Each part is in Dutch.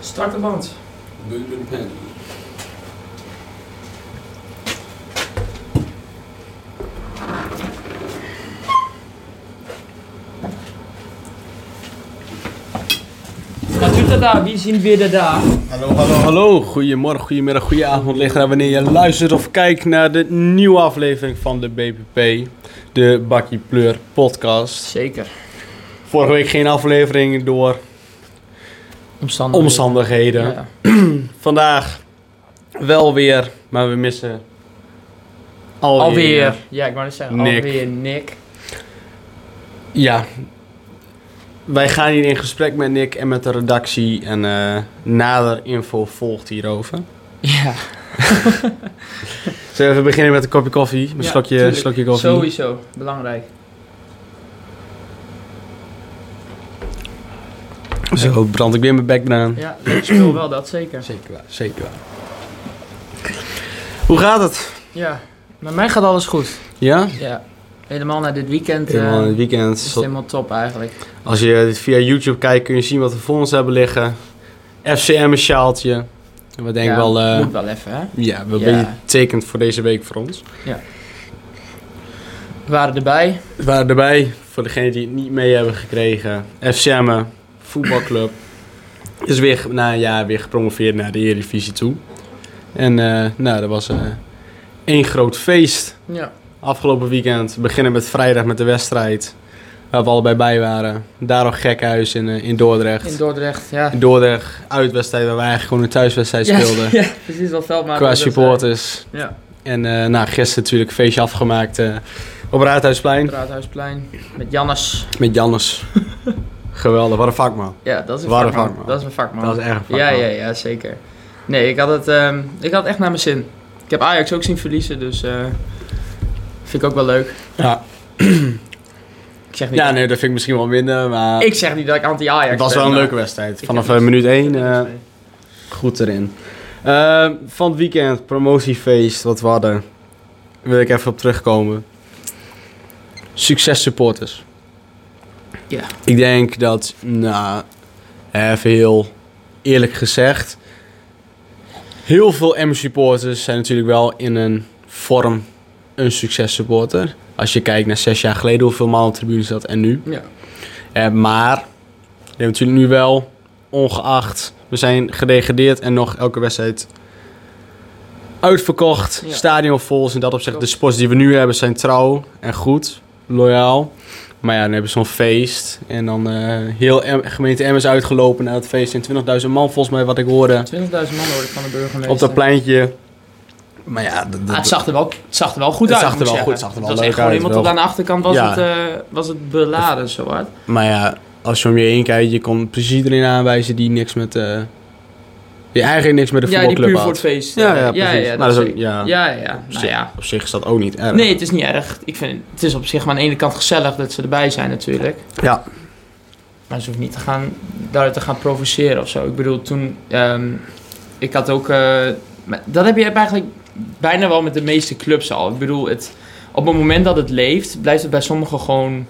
Start de band. Bourbon pen. Wat doet dat daar? Wie zien weer daar? Hallo, hallo, hallo. Goedemorgen, goedemiddag, goedenavond, liggen wanneer je luistert of kijkt naar de nieuwe aflevering van de BPP, de Bakkie Pleur podcast. Zeker. Vorige week geen aflevering door Omstandigheden. omstandigheden. Oh, Ja. Vandaag wel weer, maar we missen alweer. Alweer. Ja, ik wou net zeggen. Nick. Alweer Nick. Ja. Wij gaan hier in gesprek met Nick en met de redactie en eh, nader info volgt hierover. Ja, Zullen we even beginnen met een kopje koffie? Een Ja, slokje, tuurlijk. slokje koffie. sowieso. Belangrijk. Zo brand ik weer mijn bek aan. Ja, leuk spul wel, dat zeker. Zeker waar, zeker waar. Hoe gaat het? Ja, met mij gaat alles goed. Ja? Ja, helemaal naar dit weekend. eh, Helemaal in het weekend. is het Zo- helemaal top eigenlijk. Als je dit via YouTube kijkt, kun je zien wat we voor ons hebben liggen. FCM een sjaaltje. We denken Ja, wel, eh, Moet wel even, hè? ja, wel Ja. een beetje tekend voor deze week voor ons. We waren erbij. We waren erbij, voor degenen die het niet mee hebben gekregen. FCM, en, voetbalclub, is weer, ge- na een jaar weer gepromoveerd naar de Eredivisie toe. En eh, nou, dat was eh, één groot feest. Ja. Afgelopen weekend beginnen met vrijdag met de wedstrijd. Waar we allebei bij waren. Daar nog gekhuis in, eh, in Dordrecht. In Dordrecht, ja. In Dordrecht, uitwedstrijd waar wij eigenlijk gewoon een thuiswedstrijd Ja, speelden. Ja, precies wat Veldmaat. qua dat zei. supporters. Ja, En eh, nou, gisteren natuurlijk een feestje afgemaakt eh, op Raadhuisplein. het Raadhuisplein. Met Jannes. Met Jannes. Geweldig, wat een vakman. Ja, dat is een Wat een vakman. vakman. Dat is een vakman. Dat is erg een vakman. Ja, ja, ja, zeker. Nee, ik had het, ehm, ik had het echt naar mijn zin. Ik heb Ajax ook zien verliezen, dus eh, vind ik ook wel leuk. Ja. Ik zeg niet, Ja, nee, dat vind ik misschien wel minder, maar ik zeg niet dat ik anti-Ajax ben. het was wel een maar- leuke wedstrijd. Ik Vanaf heb eh, niks. minuut eh, 1 Ik heb niks mee. Goed erin. Eh, van het weekend, promotiefeest, wat we hadden. Wil ik even op terugkomen. Succes supporters. Ja. Ik denk dat, nou, even heel eerlijk gezegd. Heel veel M supporters zijn natuurlijk wel in een vorm een succes supporter. Als je kijkt naar zes jaar geleden hoeveel maal op tribune zat en nu. Ja. Eh, maar we hebben natuurlijk nu wel, ongeacht, we zijn gedegradeerd en nog elke wedstrijd uitverkocht. Ja. Stadion vol. Dus in dat opzicht, de Klopt. sports die we nu hebben zijn trouw en goed, loyaal. Maar ja, dan hebben ze zo'n feest. En dan eh, heel Em- gemeente Emmen is uitgelopen naar het feest. En 20.000 man, volgens mij, wat ik hoorde, 20.000 man hoorde ik van de burgemeester. op dat pleintje. Maar ja, dat, Ah, dat- het, zag er wel, het zag er wel goed Het uit. zag er moet ik zeggen. wel goed, het zag er wel was leuk echt gewoon uit, helemaal tot wel. aan de achterkant was, Ja. het, eh, was het beladen, zo hard. Maar ja, als je om je heen kijkt, je kon precies iedereen aanwijzen die niks met... eh, die eigenlijk niks met de Ja, die voetbalclub puur had. voor het feest. Ja, eh, ja, precies. dat Maar dat is ook- zeker. ja. ja, ja. Op Nou zich- ja. Op zich is dat ook niet erg. Nee, het is niet erg. Ik vind, het is op zich maar aan de ene kant gezellig dat ze erbij zijn natuurlijk. Ja. Maar ze hoeft niet te gaan, daaruit te gaan provoceren of zo. Ik bedoel, toen... ehm, ik had ook... eh, maar dat heb je eigenlijk bijna wel met de meeste clubs al. Ik bedoel, het, op het moment dat het leeft, blijft het bij sommigen gewoon...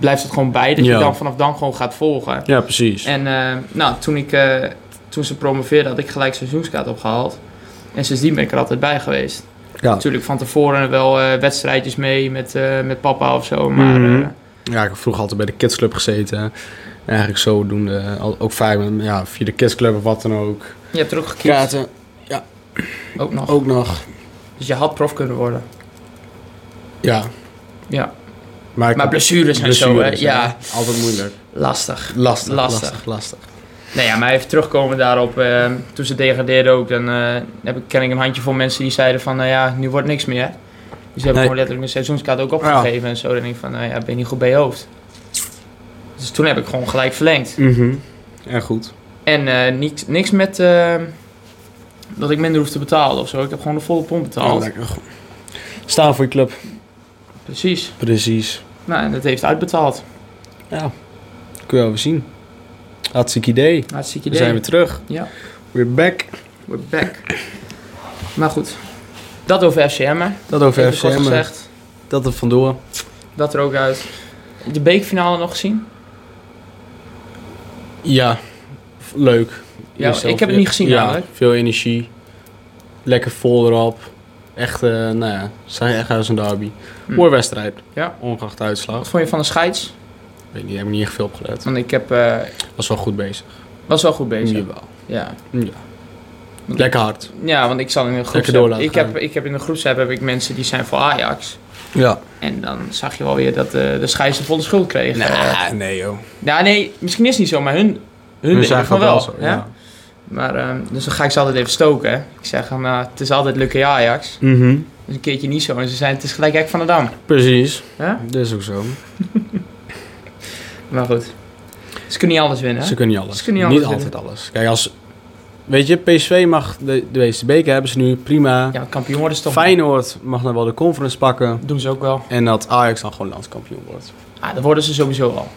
Blijft het gewoon bij dat je Ja. dan vanaf dan gewoon gaat volgen. Ja, precies. En eh, nou, toen, ik, eh, toen ze promoveerden, had ik gelijk seizoenskaart opgehaald. En sindsdien ben ik er altijd bij geweest. Ja. Natuurlijk van tevoren wel eh, wedstrijdjes mee met, eh, met papa of zo. Maar Mhm. eh, Ja, ik heb vroeger altijd bij de kidsclub gezeten. En eigenlijk zodoende, eh, al- ook vaak met- ja, via de kidsclub of wat dan ook. je hebt er ook gekiezen. Kaarten, Ook nog. ook nog. Dus je had prof kunnen worden. Ja. Ja. Maar, ik Maar had blessures en zo, hè? blessures, Ja, Altijd moeilijk. lastig. Lastig, Lastig. lastig, lastig. Nou ja, maar even terugkomen daarop. eh, toen ze degradeerden ook, dan eh, heb ik, ken ik een handjevol mensen die zeiden van... Nou ja, nu wordt niks meer. Dus die hebben Nee. gewoon letterlijk een seizoenskaart ook opgegeven en zo. Dan denk ik van, nou ja, ben je niet goed bij je hoofd. Dus toen heb ik gewoon gelijk verlengd. Mhm. En goed. En eh, niks, niks met eh, dat ik minder hoef te betalen of zo. Ik heb gewoon de volle pomp Oh, betaald. Staan voor je club. Precies. Precies. Nou, en dat heeft uitbetaald. Ja. Kun je wel weer zien. Hartstikke idee. Hartstikke We idee. zijn weer terug. Ja. We're back. We're back. Maar goed. Dat over FCM. hè. Dat over Even kort FCM. gezegd. Dat er vandoor. Dat er ook uit. De beekfinale nog gezien? Ja. leuk. Ja, Jezelf- ik heb het niet gezien namelijk. Veel energie. Lekker vol erop. Echt, eh, nou ja, zijn echt uit een derby. Hm. Mooie wedstrijd. Ja. Ongeacht de Wat uitslag. vond je van de scheids? Weet niet, heb ik niet echt veel op gelet. Want ik heb, eh, Was wel goed bezig. was wel goed bezig. Jawel. Ja. Ja. Lekker hard. ja, want ik zal in een groep. Lekker door laten ik, heb, gaan. ik heb in de groepsapp heb ik mensen die zijn voor Ajax. Ja. En dan zag je wel weer dat eh, de scheids de volle schuld kreeg. Eh, Nah, nee joh. nou, nee, misschien is het niet zo, maar hun, hun, We denken zijn van gewoon wel zo. hè? Maar, ehm, dus dan ga ik ze altijd even stoken. hè. Ik zeg van, nou, het is altijd lucky Ajax. Mhm. Dus een keertje niet zo. En ze zijn, het is gelijk Hek van de Dam. Precies. Ja? Dat is ook zo. Maar goed. Ze kunnen niet alles winnen. hè? Ze kunnen niet alles. Ze kunnen niet alles altijd alles. Kijk, als... Weet je, PSV mag de, de WCB hebben ze nu prima. Ja, kampioen worden is toch... Feyenoord mag dan wel de conference pakken. Doen ze ook wel. En dat Ajax dan gewoon landskampioen wordt. Ah, dat worden ze sowieso al.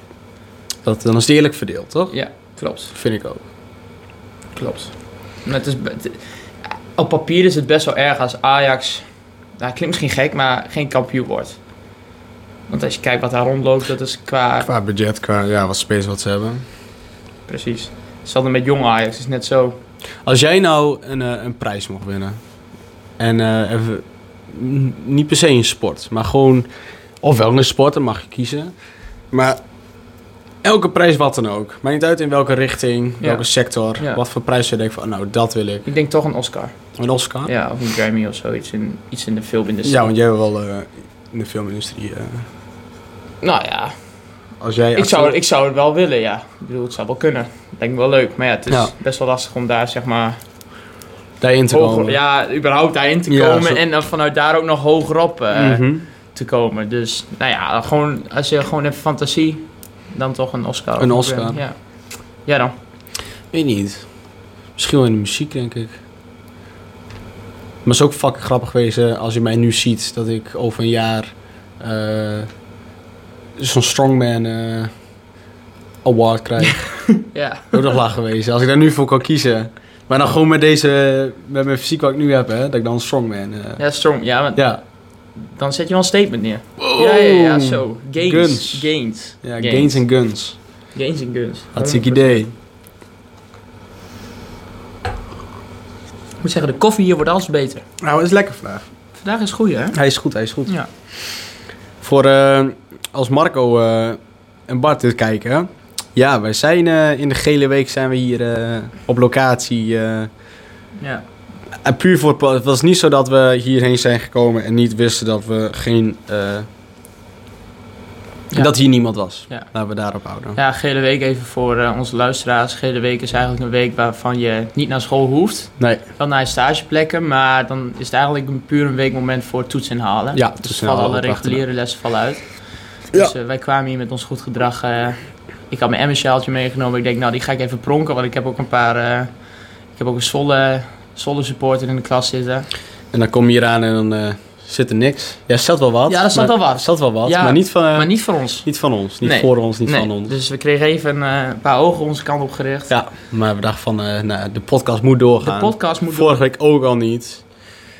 Dat, dan is het eerlijk verdeeld, toch? Ja, klopt. Vind ik ook. Klopt. Maar het is, be- het- op papier is het best wel erg als Ajax... Nou, klinkt misschien gek, maar geen kampioen wordt. Want als je kijkt wat daar rondloopt, dat is qua... Qua budget, qua ja, wat space wat ze hebben. Precies. Hetzelfde met jong Ajax, is net zo. Als jij nou een, eh, een prijs mocht winnen. En eh, even, n- niet per se een sport, maar gewoon... Of wel een sport, dan mag je kiezen. Maar elke prijs wat dan ook. Maakt niet uit in welke richting, Ja. welke sector. Ja. Wat voor prijs je denkt van, nou dat wil ik. Ik denk toch een Oscar. Een Oscar? Ja, Ja, of een Grammy of zoiets. In, iets in de filmindustrie. want jij wil wel eh, in de filmindustrie... eh, Nou ja, als jij ik zou, ik zou het wel willen, ja. Ik bedoel, het zou wel kunnen. Lijkt me wel leuk. Maar ja, het is Ja. best wel lastig om daar, zeg maar... daarin te hoger- komen. ja, überhaupt daarin te Ja, komen. zo- En dan vanuit daar ook nog hogerop eh, Mhm. te komen. Dus, nou ja, gewoon, als je gewoon even fantasie... Dan toch een Oscar. Een of Oscar. Grammy, Ja. ja, dan. Weet niet. Misschien wel in de muziek, denk ik. Maar het is ook fucking grappig wezen als je mij nu ziet dat ik over een jaar eh, zo'n Strongman eh, Award krijg. Ja, ook nog lachen wezen. Als ik daar nu voor kan kiezen. Maar dan gewoon met deze, met mijn fysiek wat ik nu heb, hè, dat ik dan een Strongman. eh, ja Storm. Ja, want ja. dan zet je wel een statement neer. Ja, ja, ja, zo. Gains. Guns. Gains. Ja, gains en guns. Gains en guns. Hartstikke idee. Ik moet zeggen, de koffie hier wordt alles beter. Nou, dat is lekker vandaag. Vandaag is goed, hè? Hij is goed, hij is goed. Ja. Voor eh, als Marco eh, en Bart dit kijken. hè. Ja, wij zijn eh, in de gele week zijn we hier eh, op locatie. eh, Ja. en puur voor het pla- het was niet zo dat we hierheen zijn gekomen en niet wisten dat we geen eh, Ja. dat hier niemand was. Ja. Laten we daarop houden. ja, gele week even voor eh, onze luisteraars. Gele week is eigenlijk een week waarvan je niet naar school hoeft. Nee, Wel naar je stageplekken, maar dan is het eigenlijk een puur een weekmoment voor toetsen halen. Ja, nou, dus toetsen vallen alle halen, opdrachten. reguliere lessen vallen uit. Dus eh, wij kwamen hier met ons goed gedrag. eh, ik had mijn emmersjaaltje meegenomen. Ik denk, nou die ga ik even pronken, want ik heb ook een paar... eh, ik heb ook een Zwolle, Zwolle supporter in de klas zitten. en dan kom je hier aan en dan eh, zit er niks. Ja, er zat wel wat. Ja, er zat maar- wel wat. er Zat wel wat, Ja, maar niet van, eh, Maar niet... niet voor ons. van ons, niet Nee. voor ons, niet Nee, van ons. Dus we kregen even eh, een paar ogen onze kant op gericht. Ja, maar we dachten van, eh, nou, de podcast moet doorgaan. De podcast moet... Vorige week ook al niet.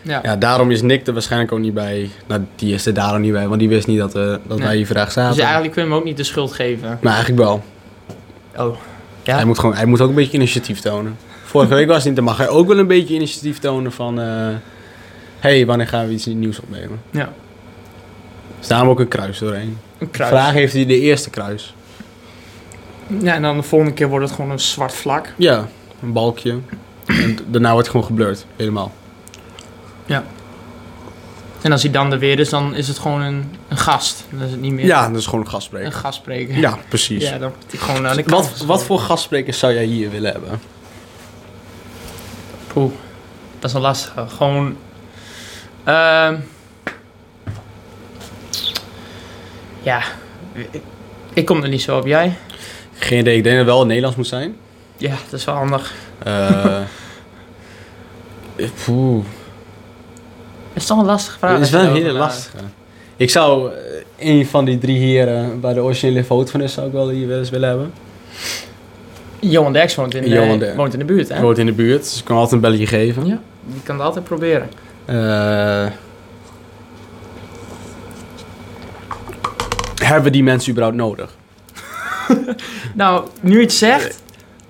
Ja. Dus Ja, daarom is Nick er waarschijnlijk ook niet bij. Nou, die is er daarom niet bij, want die wist niet dat, eh, dat Nee. wij hier vandaag Dus zaten. eigenlijk kunnen we hem ook niet de schuld geven. Maar eigenlijk wel. Oh. Ja? Hij, moet gewoon, hij moet ook een beetje initiatief tonen. Vorige week was het niet, dan mag hij ook wel een beetje initiatief tonen van... eh, hey, wanneer gaan we iets nieuws opnemen? Ja. Er Staan ook een kruis doorheen. Een kruis. Vraag heeft hij de eerste kruis. Ja, en dan de volgende keer wordt het gewoon een zwart vlak. Ja, een balkje. en d- daarna wordt het gewoon geblurred, helemaal. En als hij dan er weer is, dan is het gewoon een, een gast. Dan is het niet meer Ja, dat is gewoon een een gastspreker. gastspreker. Ja, precies. Ja, dan wordt hij gewoon aan de kant Wat, geschoven. wat voor gastsprekers zou jij hier willen hebben? Poeh, dat is wel lastig. Gewoon... ehm, ja, ik, ik kom er niet zo op. Jij? Geen idee, ik denk dat het wel in Nederlands moet zijn. Ja, dat is wel handig. Eh ik- poeh. Het is toch een lastige vraag. Het is als je wel een erover hele nadenkt. lastige. Ik zou eh, een van die drie heren waar de originele vote van is, zou ik wel hier wel eens willen hebben. Johan Derks woont in, eh, Johan Derks. woont in de buurt, hè? Hij woont in de buurt, dus ik kan altijd een belletje geven. Ja. Je kan het altijd proberen. Eh, hebben we die mensen überhaupt nodig? Nou, nu je het zegt,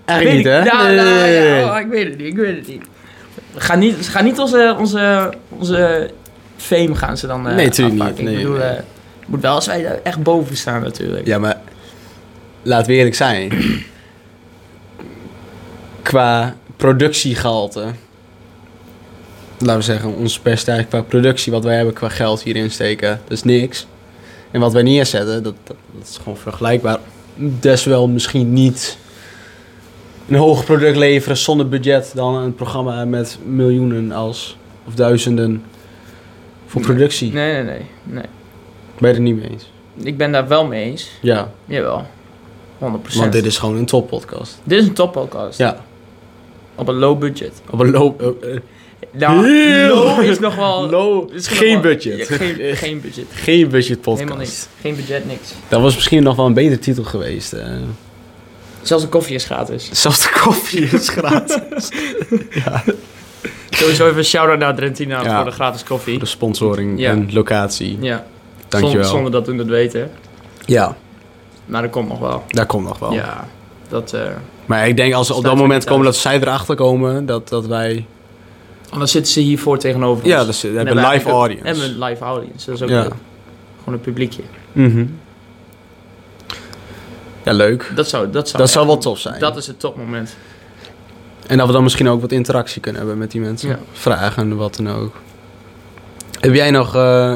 Eh, Eigenlijk niet, Weet hè? ik- Nou, nou, Nee, nee, nee. ja, oh, ik weet het niet, ik weet het niet. Ga niet, ga niet onze, onze, onze fame gaan ze dan eh Nee, tuurlijk niet. afpakken. Ik Nee, bedoel, nee. eh, het moet wel als wij daar echt boven staan natuurlijk. Ja, maar laten we eerlijk zijn. qua productiegehalte. Laten we zeggen, ons percentage qua productie, wat wij hebben qua geld hierin steken, dat is niks. En wat wij neerzetten, dat, dat, dat is gewoon vergelijkbaar. Deswel misschien niet een hoger product leveren zonder budget dan een programma met miljoenen als, of duizenden voor productie. Nee, nee, nee, nee. Ben je het niet mee eens? Ik ben daar wel mee eens. Ja, Jawel. 100%. want dit is gewoon een toppodcast. Dit is een toppodcast. Ja. Op een low budget. Op een low... eh, eh, Nou, Heel- low is nog wel... low Oh, is nog wel- geen budget. Ja, geen, geen budget. geen budget podcast. Helemaal niks. Geen budget, niks. Dat was misschien nog wel een betere titel geweest. eh. Zelfs de koffie is gratis. Zelfs de koffie is gratis. Sowieso even een shout-out naar Drentina Ja. voor de gratis koffie. de sponsoring Ja. en locatie. Ja, Dankjewel. zonder, zonder dat we het weten. Ja, Maar dat komt nog wel. daar komt nog wel. Ja, dat... eh, Maar ik denk als ze op Staat dat er moment niet komen uit. dat zij erachter komen, dat, dat wij... anders zitten ze hiervoor tegenover ons. Ja, dat ze we hebben maar live eigenlijk- audience. En een live audience. Dat is ook Ja. leuk. Gewoon een publiekje. Mhm. Ja, leuk. Dat zou... Dat zou, dat zou echt- wel tof zijn. Dat is het topmoment. En dat we dan misschien ook wat interactie kunnen hebben met die mensen. Ja. Vragen, wat dan ook. Heb jij nog eh,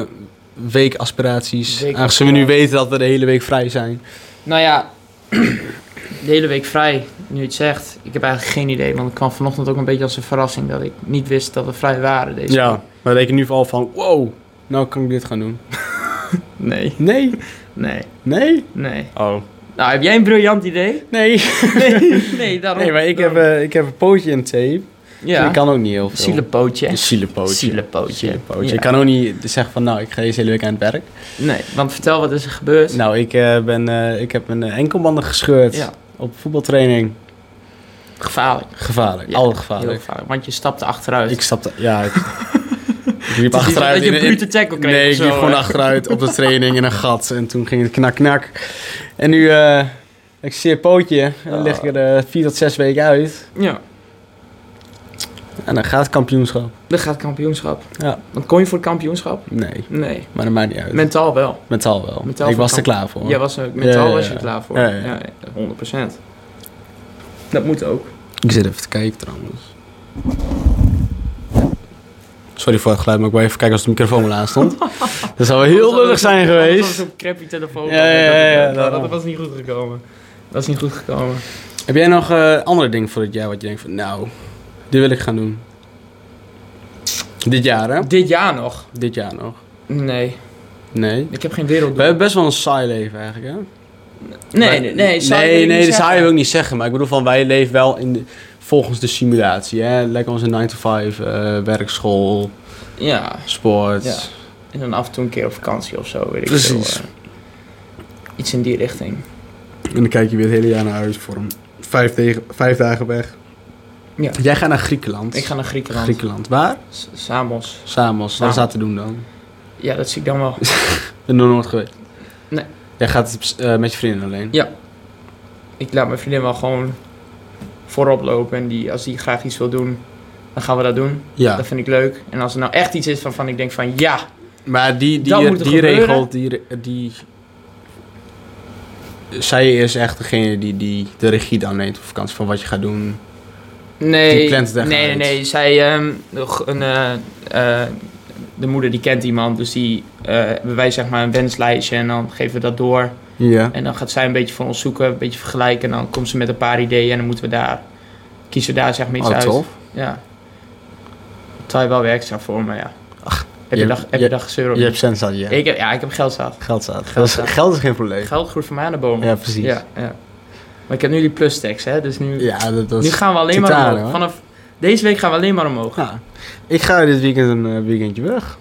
weekaspiraties? Weekaspiraties. Aangezien we nu weten dat we de hele week vrij zijn. Nou ja, de hele week vrij, nu je het zegt. Ik heb eigenlijk geen idee, want het kwam vanochtend ook een beetje als een verrassing dat ik niet wist dat we vrij waren deze week. maar reken nu vooral van, wow, nou kan ik dit gaan doen. Nee, Nee, nee, nee. nee. Oh. Nou, heb jij een briljant idee? Nee, Nee, nee, daarom. nee maar ik heb, daarom. eh, ik heb een pootje in tape. ja. Ik Dus- kan ook niet heel veel. Zielepootje. Een zielepootje. Zielepootje. Zielepootje. Ja. Ik kan ook niet zeggen van, nou, ik ga deze hele week aan het werk. Nee, want vertel wat is er gebeurd. Nou, ik, eh, ben, eh, ik heb mijn eh, enkelbanden gescheurd Ja, op voetbaltraining. gevaarlijk. Gevaarlijk, Ja, al Heel gevaarlijk. gevaarlijk, want je stapte achteruit. Ik stapte, ja. Ik, Het ik liep is niet zo achteruit. Dat je in- een brute tackle kreeg nee, of ik zo, liep gewoon hè? achteruit op de training in een gat. En toen ging het knak, knak. En nu, eh, ik zie een pootje. En Ah. dan lig ik er eh, vier tot zes weken uit. Ja, En dan gaat het kampioenschap. dan gaat kampioenschap. Ja. Want kon je voor het kampioenschap? Nee, Nee. maar dat maakt niet uit. Mentaal wel. Mentaal wel. Mentaal ik voor was er kamp- klaar voor. Jij was er, mentaal Ja, ja, was je ja. klaar voor. Ja, Ja, ja. 100%. Dat moet ook. Ik zit even te kijken trouwens. Sorry voor het geluid, maar ik wil even kijken als de microfoon al aan stond. Dat zou wel heel lullig zijn Dat was geweest. een crappy telefoon. Ja, ja, ja, ja, dat, daarom. dat was niet goed gekomen. Dat is niet goed gekomen. Heb jij nog eh, andere dingen voor dit jaar wat je denkt van, nou, die wil ik gaan doen? Dit jaar, hè? Dit jaar nog? Dit jaar nog. Nee, Nee. ik heb geen wereld. We hebben best wel een saai leven eigenlijk, hè? Nee, Maar- nee, nee. zou je nee, niet nee, dat zeggen. saai wil ik niet zeggen. Maar ik bedoel van, wij leven wel in de, volgens de simulatie, hè? Lekker onze 9-to-5, eh, werkschool, Ja, sport. Ja. en dan af en toe een keer op vakantie of zo, weet ik Precies. veel, eh, iets in die richting. En dan kijk je weer het hele jaar naar huis voor een vijf, degen- vijf dagen weg. Ja. Jij gaat naar Griekenland. Ik ga naar Griekenland. Griekenland. Waar? S- Samos. Samos. Wat Samos. is dat te doen dan? Ja, dat zie ik dan wel. Ben je nog nooit geweest? Nee. Jij gaat eh, met je vrienden alleen? Ja. Ik laat mijn vriendin wel gewoon voorop lopen. En die, als die graag iets wil doen, dan gaan we dat doen. Ja. Dat vind ik leuk. En als er nou echt iets is waarvan ik denk van ja, Maar die, Dat die, moet er die gebeuren. regel, die, re- die... Zij is echt degene die, die de regie dan neemt op vakantie van wat je gaat doen. nee. Die plant het echt nee, nee, uit. nee. Zij, ehm, nog een, eh, eh, de moeder die kent iemand, dus die eh, hebben wij zeg maar een wenslijstje en dan geven we dat door. Ja. En dan gaat zij een beetje voor ons zoeken, een beetje vergelijken. En dan komt ze met een paar ideeën en dan moeten we daar, kiezen we daar zeg maar iets Oh, uit. tof. Ja. Terwijl je wel weer extra voor, maar ja. heb je- je, dag, heb je- je, dag gezeur op? Je hebt cent zat, ja. Ik heb, ja, ik heb geld staat. Geld zat. Geld Geld is, staat. geld is geen probleem. Geld groeit van mij aan de boom. Ja, precies. ja, ja. Maar ik heb nu die plus tax, hè. Dus nu, Ja, dat, dat nu is... gaan we alleen maar titanen, omhoog. hoor. Vanaf deze week gaan we alleen maar omhoog. Ja. Ik ga dit weekend een eh, weekendje weg.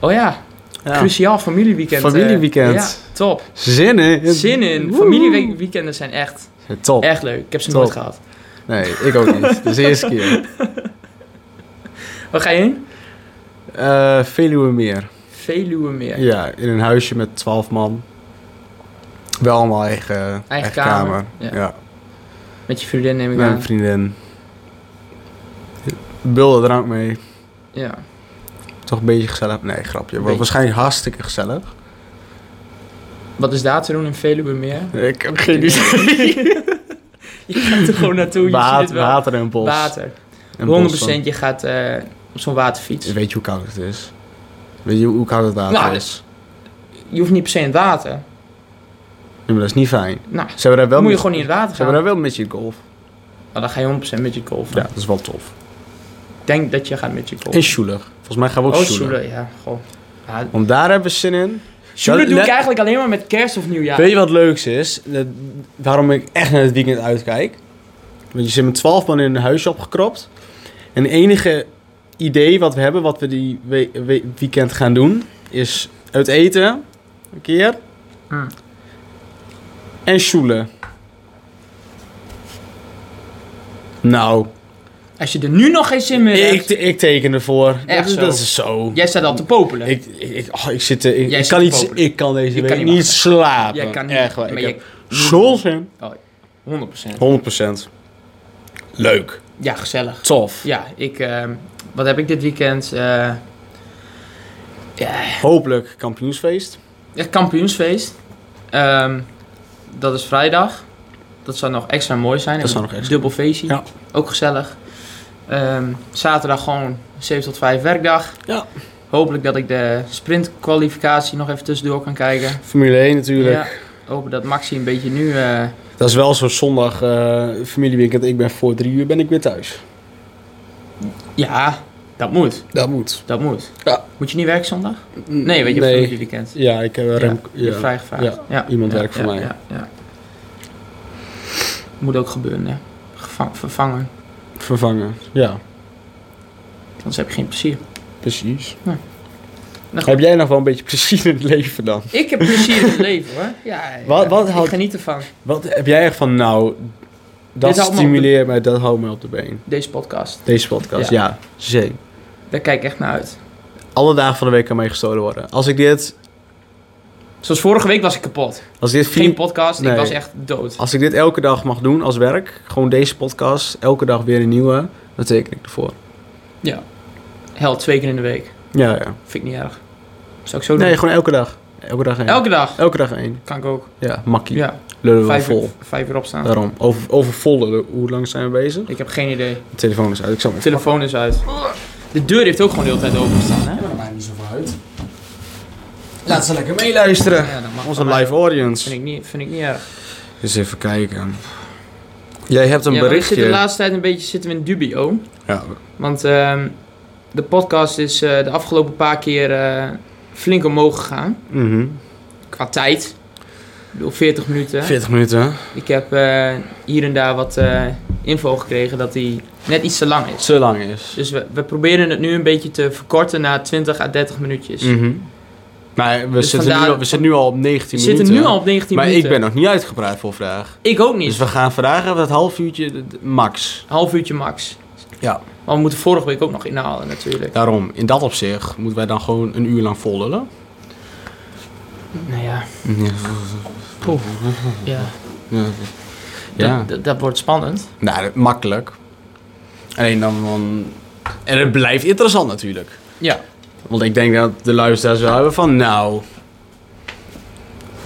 Oh ja, Ja. cruciaal familieweekend. eh. Familieweekend. ja, top. Zin in. Zin in. Woehoe. Familieweekenden zijn echt, Top. echt leuk. Ik heb ze Top. nooit gehad. Nee, ik ook niet. Dat is de eerste keer. Waar ga je heen? Eh Veluwe meer. Veluwe meer. Ja, in een huisje met twaalf man. Wel allemaal eigen, eigen, kamer. Ja. Ja. Met je vriendin neem ik aan. Mijn vriendin. Bulde drank mee. Ja. Toch een beetje gezellig. Nee, grapje. Wordt Beetje. waarschijnlijk hartstikke gezellig. Wat is daar te doen in Veluwe meer? Ik heb geen idee. je gaat er gewoon naartoe, je ziet Water, het wel. water en bos. Water. En 100% je gaat eh, op zo'n waterfiets. bos. Weet je hoe koud het is? Weet je hoe koud het water Nou, is? Je hoeft niet per se in het water. Ja, maar dat is niet fijn. Nou, Ze hebben daar wel moet je midget- gewoon niet in het water Ze hebben gaan. daar wel midget golf. Nou, dan ga je 100% met je golf. Ja, dat is wel tof. Ik denk dat je gaat met je golf. En Schuler. Volgens mij gaan we ook Oh, Schuler. Sjoelen, ja. Goh. Ja, Want daar hebben we zin in. Sjoelen doe let- ik eigenlijk alleen maar met kerst of nieuwjaar. Weet je wat leuks is? Dat- waarom ik echt naar het weekend uitkijk? Want je zit met 12 man in een huisje opgekropt. En het enige idee wat we hebben, wat we die we- we- weekend gaan doen, is uit eten. Een keer. Hm. En schoelen. Nou, Als je er nu nog geen zin meer ik, hebt, ik teken ervoor. Echt dat, is- zo. dat is zo. jij staat al te popelen. Ik, ik, ik- oh, ik, zit, eh, ik, Jij ik zit kan te niet, popelen. ik kan deze Je week kan niet niet slapen. jij kan niet, Echt waar. maar ik jij, heb zo'n zin. 100%. 100%. Leuk. Ja, gezellig. Tof. Ja, ik, ehm, wat heb ik dit weekend? Eh, ja, Hopelijk kampioensfeest. echt kampioensfeest. Ehm, dat is vrijdag. Dat zou nog extra mooi zijn. Dat zou Een nog extra- Dubbel feestje. Ja. Ook gezellig. Ehm, zaterdag gewoon 7 tot 5 werkdag. Ja. Hopelijk dat ik de sprintkwalificatie nog even tussendoor kan kijken. Formule 1 natuurlijk. Ja, hopen dat Maxi een beetje nu... eh, Dat is wel zo'n zondag eh, familieweekend. Ik ben voor drie uur ben ik weer thuis. ja, dat moet. Dat moet. Dat moet. Ja. Moet je niet werken zondag? Nee, weet je, Nee. nee. weekend. Ja, ik heb Ja, rem... je hebt ja. vrijgevraagd. Ja, iemand werkt voor mij. Ja, ja. Moet ook gebeuren, hè. Geva- vervangen. vervangen. Ja, Anders heb je geen plezier. precies. Nou, Heb jij nog wel een beetje plezier in het leven dan? Ik heb plezier in het leven, hoor. Ja, Wat- ja, wat ik houdt- geniet ervan. Wat heb jij echt van, nou, houdt dat me op de- stimuleert mij, dat houdt mij op de been. Deze podcast. Deze podcast, ja. Zee. Daar kijk ik echt naar uit. Alle dagen van de week kan mij gestolen worden. Als ik dit, Zoals vorige week was ik kapot. als ik dit, Geen vier, podcast, Nee. ik was echt dood. als ik dit elke dag mag doen als werk, gewoon deze podcast, elke dag weer een nieuwe, dan teken ik ervoor. Hel, twee keer in de week. Ja, ja. Vind ik niet erg. Zou ik zo doen? Nee, gewoon elke dag. Elke dag één. Elke dag. Elke dag één. Kan ik ook. Ja, makkie. Ja, Lullen we wel vijf uur, vol. vijf uur opstaan. Daarom. Over, over vol lullen. Hoe lang zijn we bezig? Ik heb geen idee. De telefoon is uit. Ik zal De mijn telefoon is uit. De deur heeft ook gewoon de hele tijd openstaan, hè? maar dat maakt niet zoveel uit. Laat ze lekker meeluisteren. Ja, dat mag Onze wel. live audience. Vind ik niet, vind ik niet erg. Eens even kijken. Jij hebt een ja, maar we berichtje. zitten de laatste tijd een beetje zitten we in dubio. Ja, Want ehm, de podcast is eh, de afgelopen paar keer eh, flink omhoog gegaan. mhm. Qua tijd. Ik bedoel, 40 minuten. 40 minuten. Ik heb eh, hier en daar wat eh, info gekregen dat die net iets te lang is. Te lang is. Dus we, we proberen het nu een beetje te verkorten naar 20 à 30 minuutjes. Mhm. Maar we, Dus zitten, vandaar- nu al, we zitten nu al op 19 We minuten. zitten nu al op 19 Maar minuten. ik ben nog niet uitgepraat voor vandaag. Ik ook Dus niet. we gaan vandaag even het half uurtje de- de- max. Half uurtje max. Ja. Maar we moeten vorige week ook nog inhalen natuurlijk. Daarom, in dat opzicht moeten wij dan gewoon een uur lang vol lullen. Nou ja, Ja. poeh. Ja. Ja. Dat, dat, dat wordt spannend. Nou, dat- makkelijk. Alleen dan, dan... En het blijft interessant natuurlijk. Ja. Want ik denk dat de luisteraars wel hebben van, nou...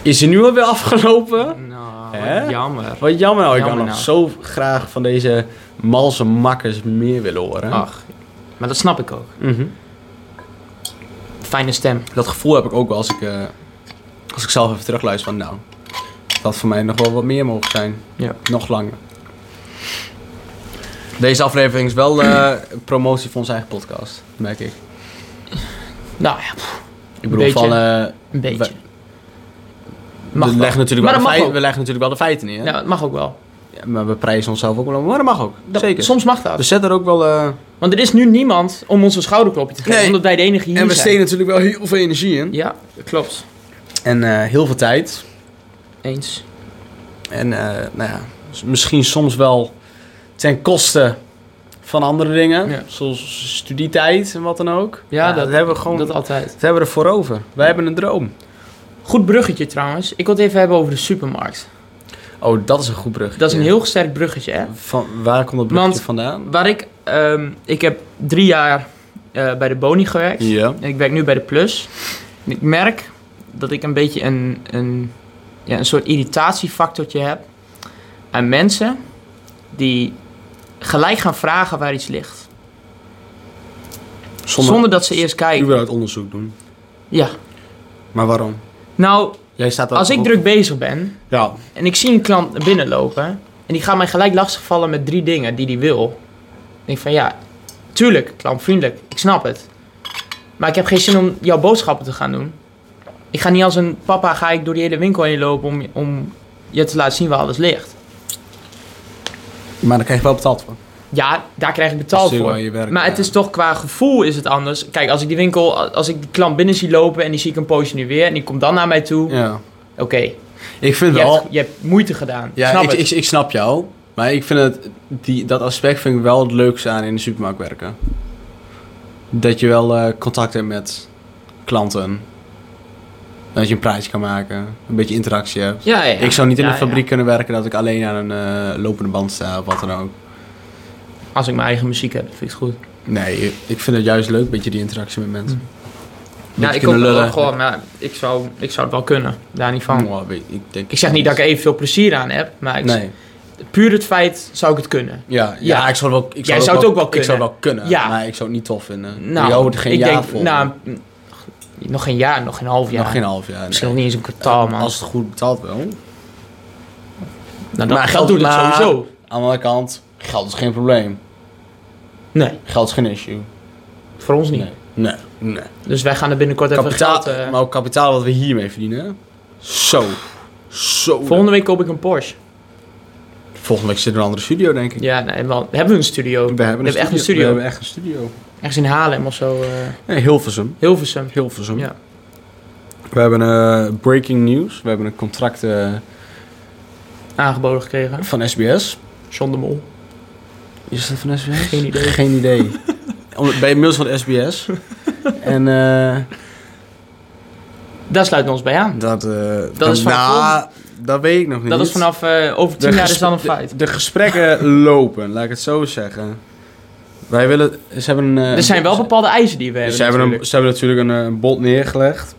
Is hij nu alweer afgelopen? Nou, Hè? jammer. Wat jammer, nou, ik Jammer kan nog nou. zo graag van deze malse makkers meer willen horen. Ach, maar dat snap ik ook. Mhm. Fijne stem. Dat gevoel heb ik ook wel als ik, eh, als ik zelf even terugluister van, nou... Dat had voor mij nog wel wat meer mogen zijn. Ja. Nog langer. Deze aflevering is wel eh, promotie voor onze eigen podcast, merk ik. Nou ja, Ik bedoel, Beetje. van, eh, een beetje. Mag we, wel. leggen natuurlijk Maar wel de dat mag feit- ook. we leggen natuurlijk wel de feiten neer. Ja, dat mag ook wel. Ja, maar we prijzen onszelf ook wel, maar dat mag ook. Dat- Zeker. Soms mag dat. Dus zet er ook wel... eh, Want er is nu niemand om ons een schouderklopje te geven, Nee. omdat wij de enige hier en we zijn. steden natuurlijk wel heel veel energie in. Ja, dat klopt. En eh, heel veel tijd. Eens. En eh, nou ja, s- misschien soms wel ten koste van andere dingen. Ja. Zoals studietijd en wat dan ook. Ja, dat- hebben we gewoon... Dat Dat, altijd. hebben we ervoor over. Wij hebben een droom. Goed bruggetje trouwens. Ik wil het even hebben over de supermarkt. Oh, dat is een goed brug. Dat is een heel sterk bruggetje, hè? Van, waar komt dat brugje Want- vandaan? Waar ik, ehm, ik heb drie jaar eh, bij de Boni gewerkt. Ja. En Ik werk nu bij de Plus. En ik merk dat ik een beetje een, een, ja, een soort irritatiefactortje heb aan mensen die gelijk gaan vragen waar iets ligt. Zonder, dat ze eerst kijken. überhaupt onderzoek doen. Ja. Maar waarom? Nou, Jij staat daar als ik op- druk bezig ben Ja. en ik zie een klant naar binnen lopen en die gaat mij gelijk lastigvallen met drie dingen die die wil. Ik denk van ja, tuurlijk, klantvriendelijk, ik snap het. Maar ik heb geen zin om jouw boodschappen te gaan doen. Ik ga niet als een papa ga ik door die hele winkel heen lopen om, om je te laten zien waar alles ligt. Maar dan krijg je wel betaald voor. Ja, daar krijg ik betaald voor. Je werk, Maar het is toch qua gevoel is het anders. Kijk, als ik die winkel, als ik die klant binnen zie lopen en die zie ik een poosje nu weer en die komt dan naar mij toe. Ja. Oké, Ik vind je, wel... hebt- je hebt moeite gedaan. Ja, snap ik, het. Ik, ik snap jou. Maar ik vind het, die, dat aspect vind ik wel het leukste aan in de supermarkt werken. Dat je wel eh, contact hebt met klanten. Dat je een praatje kan maken. Een beetje interactie hebt. ja, ja. Ik zou niet in Ja, een ja. fabriek kunnen werken dat ik alleen aan een eh, lopende band sta of wat dan ook. Als ik mijn eigen muziek heb, vind ik het goed. Nee, ik vind het juist leuk, een beetje die interactie met mensen. Beetje Ja, ik kunnen ook wel lullen. gewoon, maar ik zou, ik zou het wel kunnen. Daar niet van. Oh, weet- ik, denk, Ik zeg niet dat ik er evenveel plezier aan heb, maar ik, Nee. puur het feit zou ik het kunnen. Ja, ja, Ja. ik zou het wel... Ik Jij zou het ook wel Ik zou het wel kunnen, Ja. maar ik zou het niet tof vinden. Nou, Jou wordt er geen ik jaar denk, voor. nou, mm, nog geen jaar, nog geen half jaar. Nog geen half jaar. nee. Misschien nog niet eens een kwartaal, man. Als het goed betaalt wel. nou, dat, maar dat geld- doet het maar- sowieso. Aan de andere kant, geld is geen probleem. Nee, Geld is geen issue. voor ons niet. Nee. Nee. nee. Dus wij gaan er binnenkort even Kapitaal, geld... eh, maar ook kapitaal wat we hiermee verdienen. Zo. Zo. volgende week koop ik een Porsche. Volgende week zit er een andere studio, denk ik. Ja, nee, wel, hebben we een studio. We hebben, We hebben echt een studio. We hebben echt een studio. Ergens in Haarlem of zo. eh Nee, Hilversum. Hilversum. Hilversum. Ja. We hebben eh, breaking news. We hebben een contract eh, Aangeboden gekregen. van SBS. John de Mol. Is dat van SBS? Geen idee. Geen idee. Om- Bij inmiddels van SBS. en eh, Daar sluiten we ons bij aan. dat... eh, is van- nou, dat weet ik nog niet. Dat is vanaf eh, over tien jaar is dan een gesp- feit. de- De gesprekken lopen, laat ik het zo zeggen. Wij willen... Ze hebben een... eh, Er zijn wel bepaalde eisen die we hebben. ze, Dus hebben een, natuurlijk. ze hebben natuurlijk een, eh, een bod neergelegd.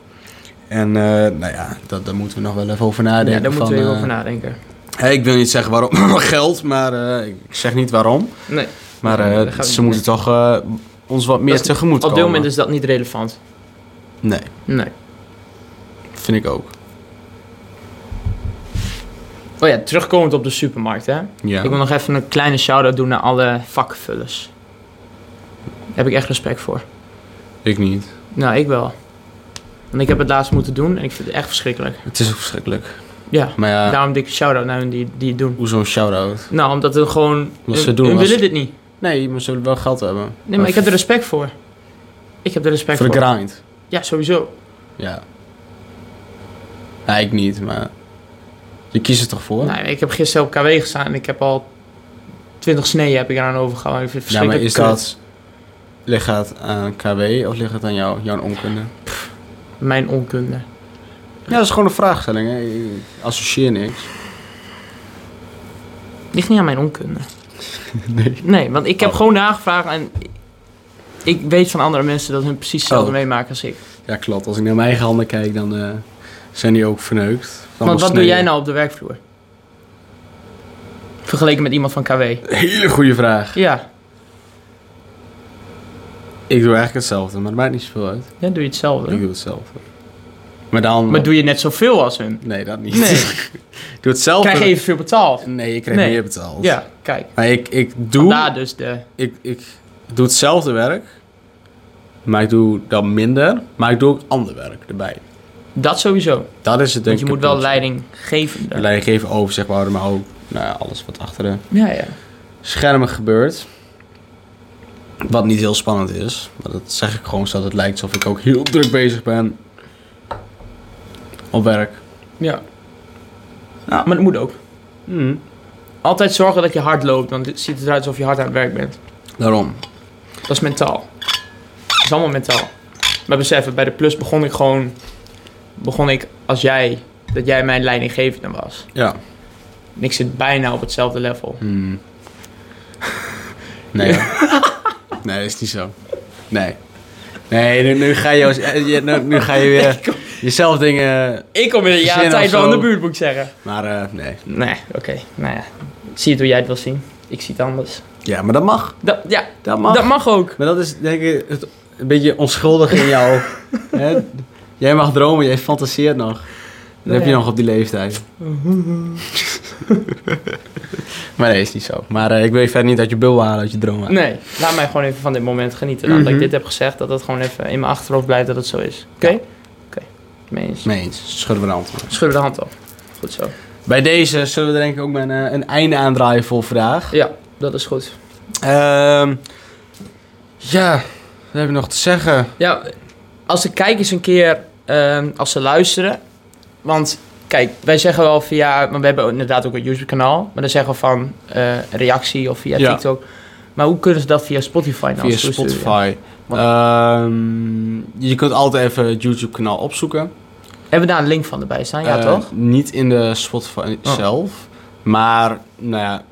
En eh, nou ja, dat, daar moeten we nog wel even over nadenken. ja, daar moeten we van, heel eh, over nadenken. Hey, ik wil niet zeggen waarom geld, maar eh, ik ik zeg niet waarom. Nee, Maar Nee, eh, dat gaat ze niet. moeten toch eh, ons wat meer Dat is- tegemoet op komen. dit moment is dat niet relevant. Nee, Nee. vind ik ook. Oh ja, terugkomend op de supermarkt, hè. Ja. Ik wil nog even een kleine shout-out doen naar alle vakvullers. Daar heb ik echt respect voor. Ik niet. Nou, ik wel. Want ik heb het laatst moeten doen en ik vind het echt verschrikkelijk. Het is ook verschrikkelijk. Ja, Maar ja, daarom dikke shout-out naar hun die, die het doen. hoezo een shout-out? Nou, omdat het gewoon... Wat ze hun- doen hun was- willen dit niet. Nee, maar ze willen wel geld hebben. Nee, maar ik heb er respect voor. Ik heb er respect Voor voor. de grind. ja, sowieso. Ja. Ja, ik niet, maar... Je kiest er toch voor? Nou, ik heb gisteren op KW gestaan en ik heb al 20 sneeën heb ik eraan overgehouden. Ik vind het ja, maar is verschrikkelijk dat... Ligt het aan KW of ligt het aan jou, jouw onkunde? kut. Mijn onkunde. Ja, dat is gewoon een vraagstelling. Hè. Ik associeer niks. Ligt niet aan mijn onkunde. Nee. Nee, want ik heb Oh. gewoon nagevraagd en ik weet van andere mensen dat hun precies hetzelfde Oh. meemaken als ik. Ja, klopt. Als ik naar mijn eigen handen kijk, dan eh, zijn die ook verneukt. Van Want mijn wat doe jij sneden. nou op de werkvloer? Vergeleken met iemand van KW. Hele goede vraag. Ja, Ik doe eigenlijk hetzelfde, maar het maakt niet zoveel uit. dan doe je Ik hetzelfde. doe hetzelfde. Maar dan... Maar doe je net zoveel als hun? Nee, dat niet. Nee. ik doe hetzelfde. Krijg je evenveel betaald? Nee, ik krijg Nee. meer betaald. Ja, kijk. Maar ik, ik doe... Vandaar dus de... ik, ik doe hetzelfde werk, maar ik doe dan minder. Maar ik doe ook ander werk erbij. Dat sowieso. Dat is het denk Want je ik. moet het wel punt. leiding geven. daar. Leiding geven over, zeg maar, maar ook nou ja, alles wat achter de Ja, ja. schermen gebeurt. Wat niet heel spannend is. Maar dat zeg ik gewoon zodat het lijkt alsof ik ook heel druk bezig ben op werk. Ja. Ja. Maar dat moet ook. Hmm. Hm, Altijd zorgen dat je hard loopt, want het ziet eruit alsof je hard aan het werk bent. Daarom. Dat is mentaal. Dat is allemaal mentaal. Maar besef, het, bij de plus begon ik gewoon... Begon ik als jij, dat jij mijn leidinggevende was. Ja. En ik zit bijna op hetzelfde level. Hmm. Nee. nee, dat is niet zo. Nee. Nee, nu, nu ga je, als- eh, je- nu, nu ga je weer jezelf dingen... Ik kom in een jaar Verzin tijd of wel zo. in de buurt, moet ik zeggen. Maar eh, nee. Nee, oké. Nou ja, ik zie het hoe jij het wil zien. Ik zie het anders. Ja, maar dat mag. Dat, ja, Dat mag. dat mag ook. Maar dat is denk ik het, een beetje onschuldig in jou. hè? Jij mag dromen, jij fantaseert nog. Dat heb je Ja. nog op die leeftijd. maar nee, is niet zo. Maar eh, ik wil je verder niet uit je bubbel halen, uit je dromen. Nee, laat mij gewoon even van dit moment genieten. Dan. Dat ik Mhm. dit heb gezegd, dat dat gewoon even in mijn achterhoofd blijft dat het zo is. Oké? Ja. Oké, mee eens. Nee eens. Schudden we de hand. Schudden de hand op. Goed zo. Bij deze zullen we er denk ik ook maar een, eh, een einde aan draaien voor vandaag. Ja, dat is goed. Ehm, ja, wat heb ik nog te zeggen? Ja, als de kijkers een keer, ehm, als ze luisteren. Want kijk, wij zeggen wel via. Maar we hebben inderdaad ook een YouTube-kanaal. Maar dan zeggen we van eh, reactie of via Ja. TikTok. Maar hoe kunnen ze dat via Spotify nou? Via toesturen? Spotify. Wat- Ehm, je kunt altijd even het YouTube kanaal opzoeken. Hebben we daar een link van erbij staan? Ah, Ja, Eh, toch? Niet in de Spotify Oh. zelf. Maar nou ja,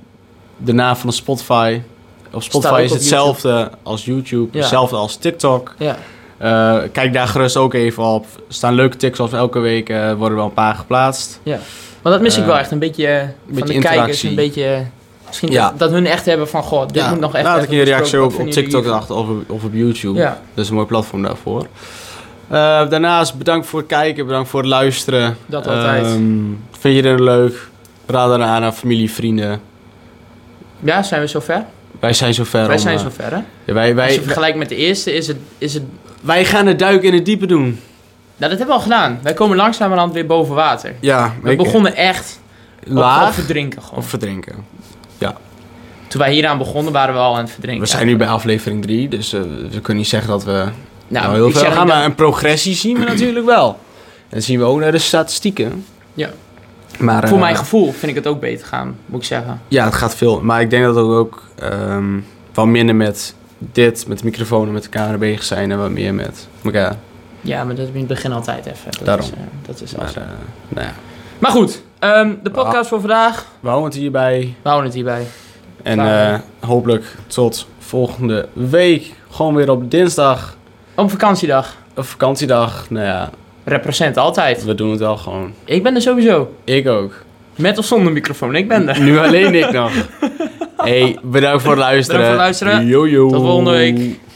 de naam van de Spotify. Op ook Spotify is op hetzelfde als YouTube, Ja. hetzelfde als TikTok. Ja. Eh, kijk daar gerust ook even op. Er staan leuke TikToks elke week. eh, worden er wel een paar geplaatst. Maar dat mis ik Eh, wel echt. Een beetje, eh, van de beetje kijkers. Een interactie. beetje. eh, Misschien Ja. dat, dat hun echt hebben van. Goh, dit moet nog echt. laat ik even je reactie besproken. ook Wat op vinden TikTok jullie hiervan? achter of, of op YouTube. Ja. Dat is een mooi platform daarvoor. Eh, daarnaast bedankt voor het kijken, bedankt voor het luisteren. Dat altijd. Ehm, vind je dit leuk? Raad dan aan aan familie, vrienden. ja, zijn we zover? Wij zijn zover. Wij om, zijn eh, zover, hè? ja, wij, Als je wij, vergelijkt met de eerste, is het. Is het wij gaan het duiken in het diepe doen. nou, dat hebben we al gedaan. Wij komen langzamerhand weer boven water. Ja, We begonnen echt Op, op laag verdrinken gewoon. of verdrinken. Toen wij hieraan begonnen waren we al aan het verdrinken. We zijn nu bij aflevering 3, dus eh, we kunnen niet zeggen dat we nou, nou, heel ik veel zeg gaan. dat- Maar een progressie zien we natuurlijk wel. En zien we ook naar de statistieken. Ja. Maar, Voor eh, mijn gevoel vind ik het ook beter gaan, moet ik zeggen. Ja, het gaat veel. Maar ik denk dat we ook ehm wat minder met dit, met de microfoon en met de camera bezig zijn. En wat meer met elkaar. Ja, maar dat is in het begin altijd even. Dat Daarom. Is, eh, dat is Maar, maar, eh, nou ja. maar goed, ehm, de podcast voor vandaag. We houden het hierbij. We houden het hierbij. En Klaar. eh, hopelijk tot volgende week. Gewoon weer op dinsdag. Om vakantiedag. Of vakantiedag. Nou ja, Represent altijd. we doen het wel gewoon. Ik ben er sowieso. Ik ook. Met of zonder microfoon, ik ben er. Nu alleen ik nog. hey, bedankt voor het luisteren. Bedankt voor het luisteren. Yo, yo. Tot volgende week.